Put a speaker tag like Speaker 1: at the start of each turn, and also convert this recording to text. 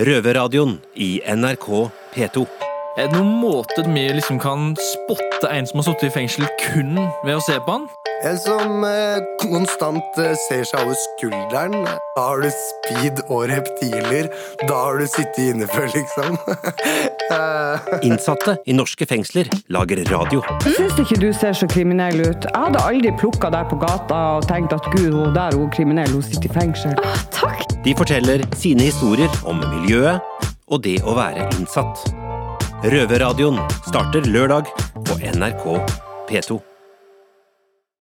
Speaker 1: Røverradioen i NRK P2.
Speaker 2: Er det Eh, noen måte vi liksom kan spotte en som har sittet i fengsel kun ved å se på han?
Speaker 3: En som eh, konstant eh, ser seg over skulderen. Da har du speed og reptiler. Da har du sittet inne før, liksom. Eh,
Speaker 1: Innsatte i norske fengsler lager radio.
Speaker 4: Syns ikke du ser så kriminell ut? Jeg hadde aldri plukka deg på gata og tenkt at gud, hun der hun er kriminell, hun sitter i fengsel.
Speaker 5: Takk!
Speaker 1: De forteller sine historier om miljøet og det å være innsatt. Røverradioen starter lørdag på NRK P2.